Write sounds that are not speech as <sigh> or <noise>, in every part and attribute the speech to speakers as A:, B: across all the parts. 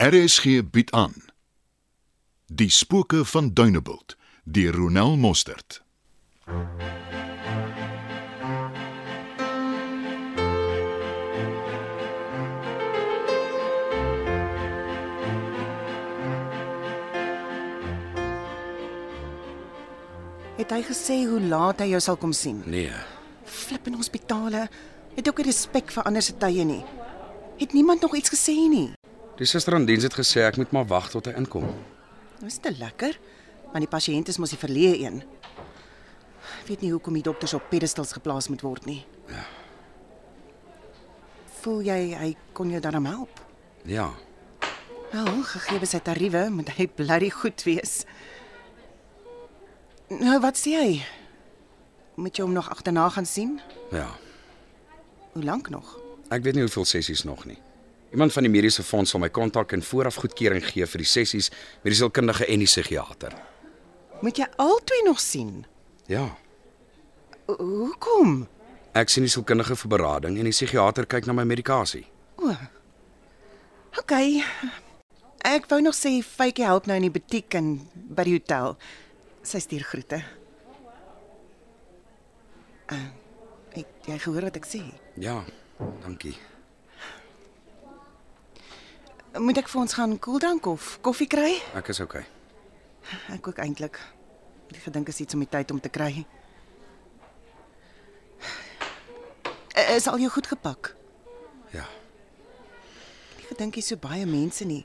A: RSG bied aan Die spooke van Duneveld deur Ronel Mostert.
B: Het hy gesê hoe laat hy jou sal kom sien?
C: Nee.
B: Flip in hospitale het ook 'n respek vir ander se tye nie. Het niemand nog iets gesê nie.
C: Die suster aan diens het gesê ek moet maar wag tot hy inkom.
B: Dis te lekker, want die pasiënt is mos die verleë een. Ek weet nie hoekom die dokters op pedestals geplaas moet word nie. Ja. Voel jy hy kon jou daarmee help?
C: Ja.
B: Wel, gegee sy tariewe, moet hy bly goed wees. Nou, wat sê hy? Moet jy hom nog agterna gaan sien?
C: Ja.
B: Hoe lank nog?
C: Ek weet nie hoeveel sessies nog nie. Iemand van die mediese fonds sal my kontak en vooraf goedkeuring gee vir die sessies met die sielkundige en die psigiater.
B: Moet jy albei nog sien?
C: Ja.
B: O- Hoekom?
C: Ek sien die sielkundige vir berading en die psigiater kyk na my medikasie.
B: O. OK. Ek wou nog sê Faitjie help nou in die butiek en by die hotel. Sy stuur groete. Uh, het jy gehoor wat ek sê?
C: Ja. Dankie.
B: Moet ek vir ons gaan koeldrank of koffie kry?
C: Ek is okay.
B: Ek ook eintlik. Ek gedink is iets om die tyd om te kry. Eh, Is al jou goed gepak?
C: Ja.
B: Ek gedink hier so baie mense nie.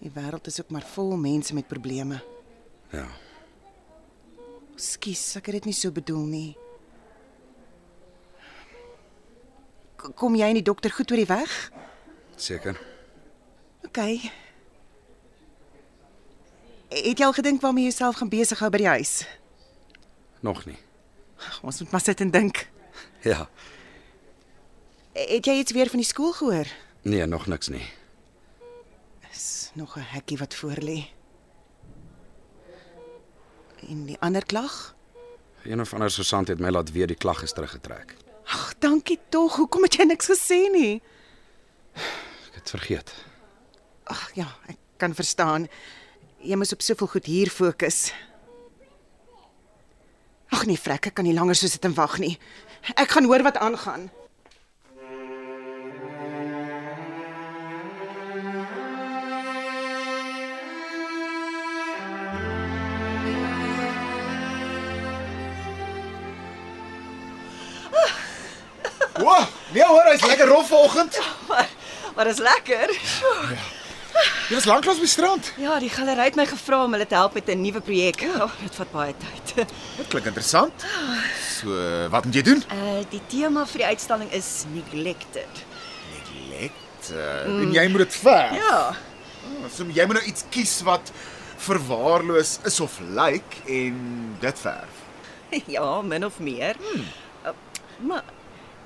B: Die wêreld is ook maar vol mense met probleme.
C: Ja.
B: Skus, ek het dit nie so bedoel nie. K- Kom jy en die dokter goed oor die weg?
C: Seker.
B: OK. Het jy al gedink waarmee jy jouself gaan besig hou by die huis?
C: Nog nie.
B: Ons moet maar sit en dink.
C: Ja.
B: Het jy iets weer van die skool gehoor?
C: Nee, nog niks nie.
B: Is nog 'n hekkie wat voor lê. En die ander klag?
C: Een of ander sergeant het my laat weet die klag is teruggetrek.
B: Ag, dankie tog. Hoekom het jy niks gesê nie?
C: Ek het vergeet.
B: Ag ja, ek kan verstaan. Jy moet op soveel goed hier fokus. Ag nee, frek, ek kan nie langer so sit en wag nie. Ek gaan hoor wat aangaan.
D: Wow, nee hoor, hy's lekker rof vanoggend.
E: Maar maar is lekker.
D: Jy was lanklaas by strand.
E: Ja, die galery het my gevra om hulle te help met 'n nuwe projek. Oh, dit vat baie tyd. <laughs>
D: Dit klink interessant. So, wat moet jy doen?
E: Uh die tema vir die uitstalling is neglected.
D: Neglect. Uh, en jy moet dit verf.
E: Ja. <laughs>
D: So jy moet nou iets kies wat verwaarloos is of lyk like, en dit verf.
E: Ja, min of meer. Hmm. Uh, maar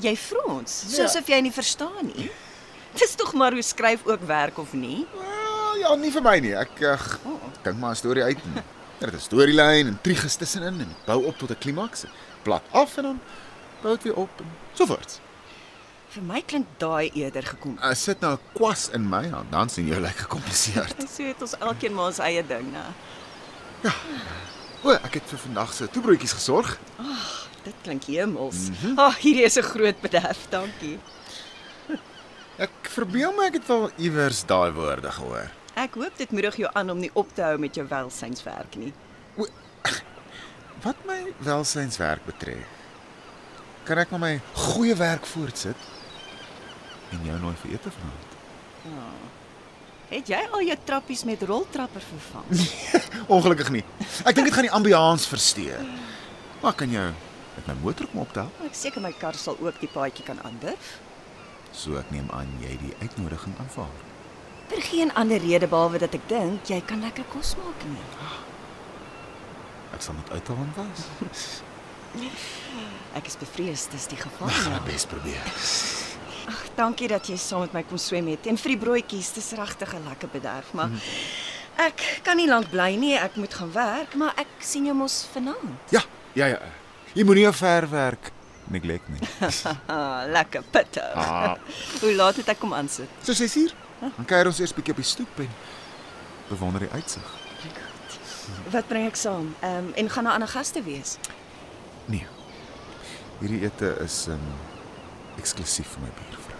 E: jy vra ons ja. soos of jy nie verstaan nie. Dis tog maar hoe skryf ook werk of nie?
D: Wel, ja, nie vir my nie. Ek ag, dink maar 'n storie uit. en <laughs> Dit is 'n storielyn en triges tussenin en dit bou op tot 'n klimaks. Plat af en dan bou dit weer op en so voort.
E: Vir my klink daai eerder gekom.
D: As sit nou 'n kwas in my hand, dan sien jy lekker gecompliseerd. <laughs>
E: So het ons elkeen maar ons eie ding, né?
D: O, ek het vir vandag se toebroodjies gesorg.
E: Dit klink hemels. Ag, mm -hmm. oh, hierdie is 'n groot bederf, dankie.
D: Ek verbeel my ek het al iewers daai woorde gehoor.
E: Ek hoop dit moedig jou aan om nie op te hou met jou welsynswerk nie.
D: <coughs> Wat my welsynswerk betref, kan ek maar my goeie werk voortsit en jou nooi vir ete vanaand.
E: Het jy al jou trappies met roltrapper vervang?
D: Ongelukkig nie. Ek dink dit gaan die ambiance versteur. Maar ek kan jou met my motor kom optel?
E: <laughs> Ek seker my kar sal ook die paadjie kan aandurf.
D: So ek neem aan jy die uitnodiging aanvaar.
E: Vir Er geen ander rede behalwe dat ek dink jy kan lekker kos maak nie.
D: Ek sal met uithand was.
E: Ek is bevrees dis die geval.
D: Ek gaan
E: ja.
D: my bes probeer.
E: Ag, dankie dat jy saam met my kom swem het en vir die broodjies, dis regtig 'n lekker bederf, maar ek kan nie lank bly nie. Ek moet gaan werk, maar ek sien jou mos vanaand.
D: Ja, ja ja. Jy moenie jou verwerk neglect nie.
E: Ah, lekker pittig.
D: <laughs> Ah,
E: Hoe laat moet ek kom aansit?
D: so sies hier. Dan kuier ons eers bietjie op die stoep en bewonder die uitsig.
E: Wat bring ek saam? Ehm um, en gaan daar ander gaste wees?
D: Nee. Hierdie ete is um eksklusief vir my buurvrou.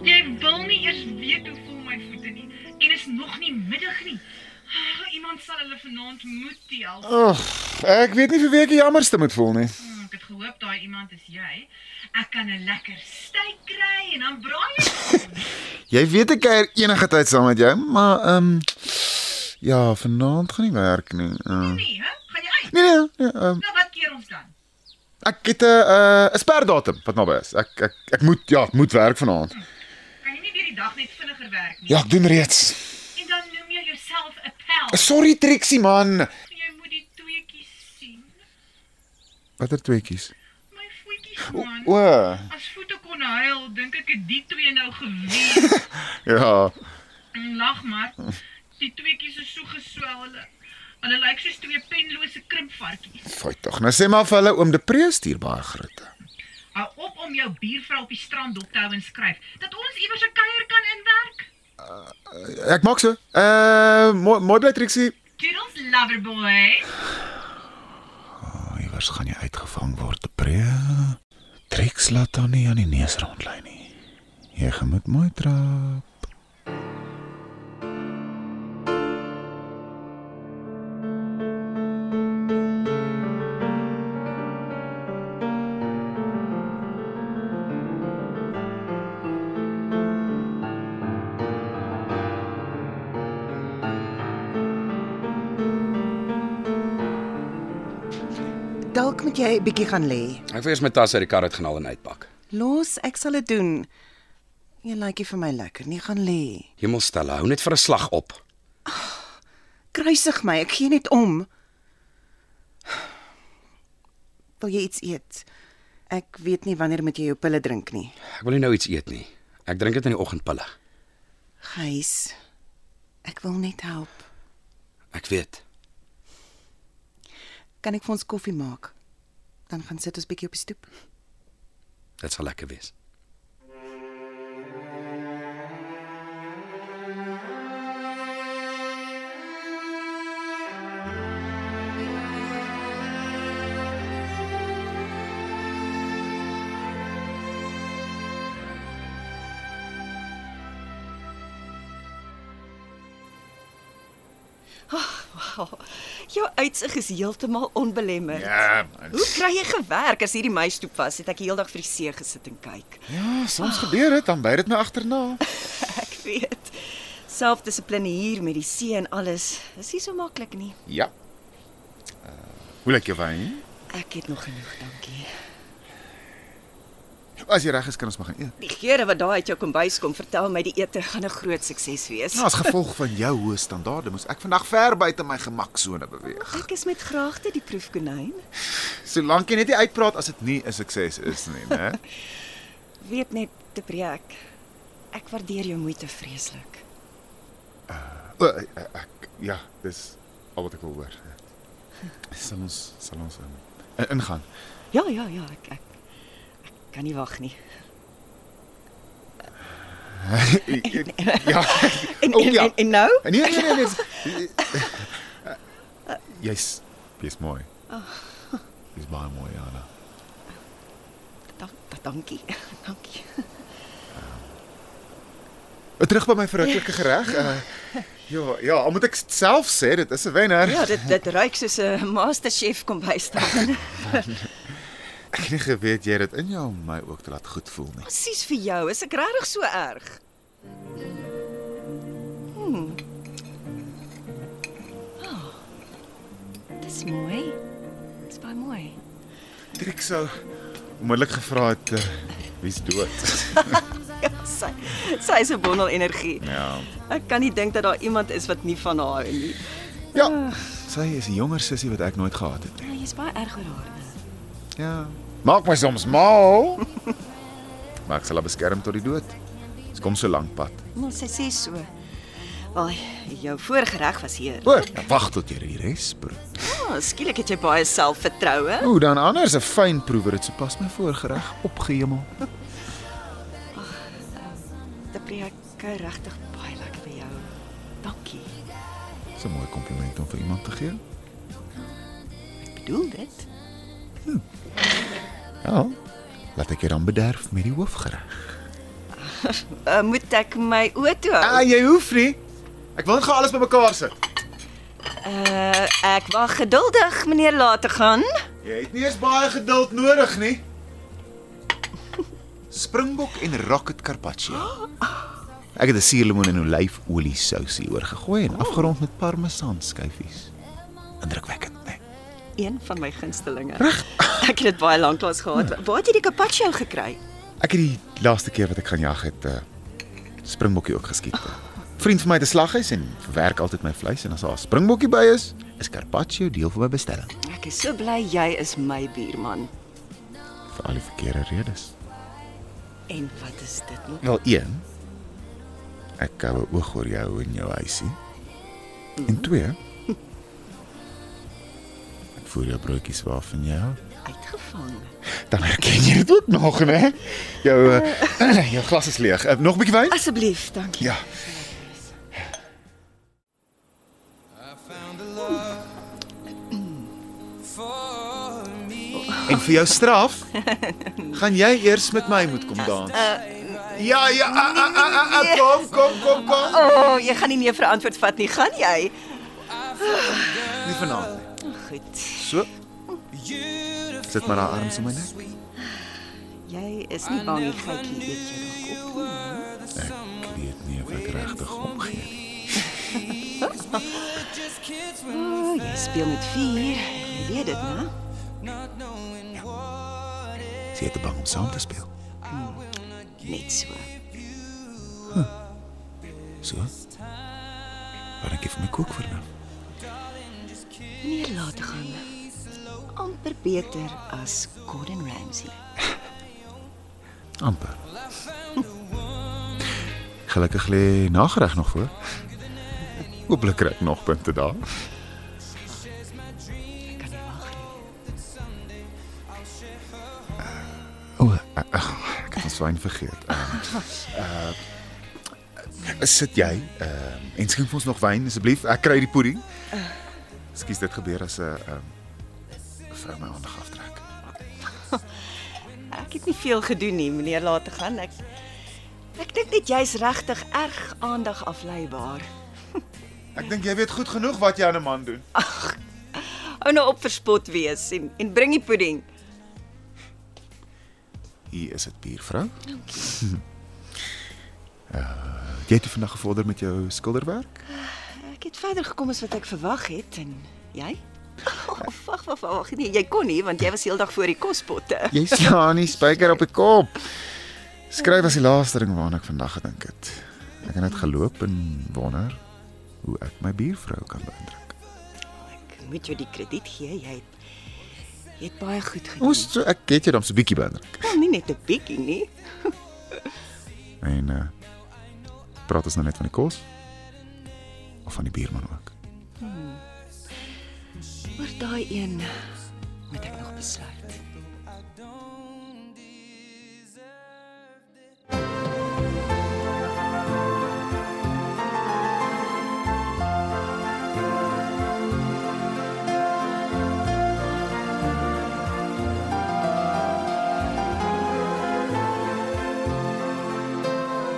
F: Jy wil nie eers weet hoe voel my voete nie en is nog nie middag nie. Ah, Iemand sal hulle vanaand moet tel.
D: Ag, ek weet nie vir wie ek die jammerste moet voel nie.
F: Hmm, Ek het gehoop daai iemand is jy. Ek kan 'n lekker steak kry en dan braai jy.
D: Jy weet ek kuier enige tyd saam met jou, maar um ja, vanaand gaan nie werk nie. Uh,
F: Nee, hè? Gaan jy uit?
D: nee nee, nee um,
F: Nou wat keer ons dan?
D: ek het 'n uh, 'n sperdatum wat naby is. Ek ek ek moet ja, ek moet werk vanaand.
F: Kan jy nie weer die dag net vinniger werk nie?
D: Ja, ek doen reeds.
F: En dan noem jy jouself 'n pel.
D: Sorry Trixie man.
F: Jy moet die tweetjies sien.
D: Watter tweetjies?
F: My voetjies man.
D: O,
F: As voete kon huil, dink ek het die twee nou gewees.
D: ja.
F: En Lag maar. Die tweetjies is so geswel hulle. Hulle lyk soos twee penlose krimpvarkies.
D: Fy tog. Nou sê maar vir hulle oom De Pree stuur baie groete.
F: Hou op om jou buurvrou op die strand dop te hou en skryf dat ons iewers 'n kuier kan inwerk.
D: Ek maak so. Uh mooi mooi bly Trixie.
F: Toodles loverboy.
D: Iewers gaan jy uitgevang word, Pree. Trix laat dan nie aan die neus rondlei nie. Jy gaan moet mooi trap.
B: Dalk moet jy 'n bietjie gaan lê.
C: Ek wil eers my tas uit die kar uitgehaal en uitpak.
B: Los, ek sal dit doen. Jy lykie vir my lekker. Nie gaan lê.
C: Hemel Stella, hou net vir 'n slag op.
B: Kruisig my, ek gee net om. Wil jy iets eet? Ek weet nie wanneer moet jy jou pille drink nie.
C: Ek wil nie nou iets eet nie. Ek drink dit in die oggendpille.
B: Gys. Ek wil net help.
C: Ek weet.
B: Kan ek vir ons koffie maak? Dan gaan sit ons bietjie op die stoep.
C: Dit sal lekker wees.
E: Oh, jou uitsig is heeltemal onbelemmerd.
D: Ja, man.
E: Hoe kry jy gewerk as hierdie meistoep was? Het ek heeldag vir die see gesit en kyk. <laughs>
D: Ja, soms gebeur dit, dan by dit my agterna.
E: Ek weet. Selfdissipline hier met die see en alles is nie so maklik nie.
D: Ja. Uh, hoe lyk jou wyn?
E: Ek het nog genoeg, dankie.
D: As jy reg is, kan ons maar gaan eet.
E: Die geure wat daar uit jou kombuis kom, vertel my die ete gaan 'n groot sukses wees.
D: Nou, as gevolg van jou hoë standaarde moes ek vandag ver buite my gemaksone beweeg.
E: Ek is met graagte die proefkonyn.
D: Solank jy net nie uitpraat as dit nie 'n sukses is nie, né?
E: Weet net te breek. Ek waardeer jou moeite vreeslik.
D: O, ek ja, dis al wat ek wil hoor. ja. Sal ons sal ons um, ingaan.
E: Ja, ja, ja, ek ek, ek kan nie wag nie.
D: Ja.
E: En,
D: O,
E: en,
D: ja.
E: en, en nou?
D: Nee nee <laughs> nee, nee. Jy's jy's mooi. Jy's baie mooi, Anna.
E: Dank, dankie. <laughs> Dankie.
D: Uh, Terug by my verruklike gereg. Uh, ja, ja, al moet ek self sê dit is 'n wenner.
E: Ja, dit dit ruik soos 'n masterchef kombuis daar.
D: Ek het nie geweet jy het dit in jou om my ook te laat goed voel nie.
E: Presies vir jou. Is ek regtig so erg? Hmm. Oh. Ah. Dis mooi. Dis baie mooi.
D: Triek sou onmiddellik gevra het uh, wie's <laughs> dood.
E: Ja, sy sy is 'n bondel energie.
D: Ja.
E: Ek kan nie dink dat daar iemand is wat nie van haar hou nie.
D: Ja. Sy is 'n jonger sussie wat ek nooit gehad het nie.
E: Ja, jy's baie erg oor haar.
D: Ja. Maak my soms mal. <laughs> maar ek sal haar beskerm tot die dood. Ons kom so lank pad.
E: Nou, sy sê so. Wel, jou voorgereg was hier.
D: O,
G: Wag tot jy die res proe.
E: Oh, skielik het jy baie selfvertroue.
D: hoe dan anders 'n fyn proewer het sopas my voorgereg.
G: Opgehemel.
E: Daprie, ek kry regtig baie lekker by jou. Dankie.
G: Dis 'n mooi kompliment om vir iemand te gee.
E: Ek bedoel dit.
D: Ja. Laat ek jou dan bederf met die hoofgereg.
E: Uh, moet ek my oë toe hou?
D: Ah, jy hoef nie. Ek wil net gou alles bymekaar sit.
E: Uh, ek wag geduldig, meneer laat te gaan.
D: Jy het nie eens baie geduld nodig <laughs> nie.
G: Springbok en rocket carpaccio. Ek het 'n suurlemoen en olyfolie sousie oorgegooi en afgerond met parmesan skyfies. Indrukwekkend, né? Nee.
E: Een van my gunstelinge. Hmm. Reg. <laughs> Ek het dit baie lanklaas gehad. Waar het jy die carpaccio gekry?
D: Ek het die laaste keer wat ek gaan jag het 'n uh, springbokkie ook geskiet. Vriend van my het 'n slaghuis en verwerk altyd my vleis en as daar 'n springbokkie by is,
G: Is carpaccio deel van my bestelling?
E: Ek is so bly jy is my buurman.
D: vir al die verkeerde redes.
E: En wat is dit nou nog?
D: Wel een, ek hou 'n oog oor jou en jou huisie. En twee, <laughs> ek voer jou broodjies waarvan jy hou.
E: Uitgevang.
D: Dan herken jy dit ook nog, né? Jou
E: Eh.
D: uh, jou glas is leeg. Uh, nog 'n bietjie wyn?
E: Asseblief, dankie.
D: Ja.
G: En vir jou
E: <laughs>
G: straf gaan jy eers met my moet kom dans.
E: Eh,
G: Ja, ja, ah, a, a, a, a, a, kom, kom, kom, kom.
E: O, oh, jy gaan nie nee vir 'n antwoord vat nie, gaan jy?
G: Nie vanaand nie.
E: Goed.
G: So. Sit maar haar arms om my nek.
E: Jy is nie bang nie, gaatjie, weet jy dalk op.
D: Ek weet nie of ek regtig opgee nie.
E: O, jy speel met vuur. Jy weet dit, né?
G: Sy het te bang om saam te speel.
E: Net so.
G: So. Maar ek gee vir my kook vir nou.
E: Nee, laat gaan. amper beter as Gordon Ramsay.
D: Amper. <laughs> Gelukkig lê nagereg nog voor. Hooplik kry ek nog punte daar.
E: Ek kan nie wag nie.
D: O, eh, eh, ek het ons wyn vergeet. Ehm uh, sit jy ehm en skink vir ons nog wyn asseblief. Ek kry die pudding. Ekskuus, dit gebeur as 'n ehm vrou my aandag aftrek.
E: Ek het nie veel gedoen nie, meneer laat gaan. Ek Ek dink net jy's regtig erg aandag afleibaar.
D: Ek dink jy weet goed genoeg wat jy aan 'n man doen.
E: Hou nou op verspot wees en en bring die pudding.
D: Hier is dit biervrou. Dankie. <laughs> Uh, jy het vandag gevorder met jou skilderwerk?
E: Ek het verder gekom as wat ek verwag het en jy? Oh, wag, wag, wag. Nee, jy kon nie want jy was heeldag voor die kospotte.
D: Jy slaan nie spyker op die kop. Skryf was die laaste ding waaraan ek vandag gedink het. Ek het net geloop en wonder hoe ek my buurvrou kan beïndruk.
E: Ek moet jou die krediet gee. Jy het jy het baie goed gedoen.
D: Ons so ek het jou dan so bietjie beïndruk.
E: Wel, nie net 'n bietjie nie.
D: En uh praat ons nou net van die kos of van die buurman ook.
E: Oor daai een moet ek nog besluit.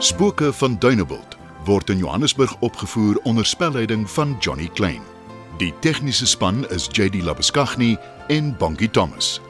A: Spooke van Duneveld word in Johannesburg opgevoer onder spelleiding van Johnny Klein. Die tegniese span is JD Labuskaghni en Bongie Thomas.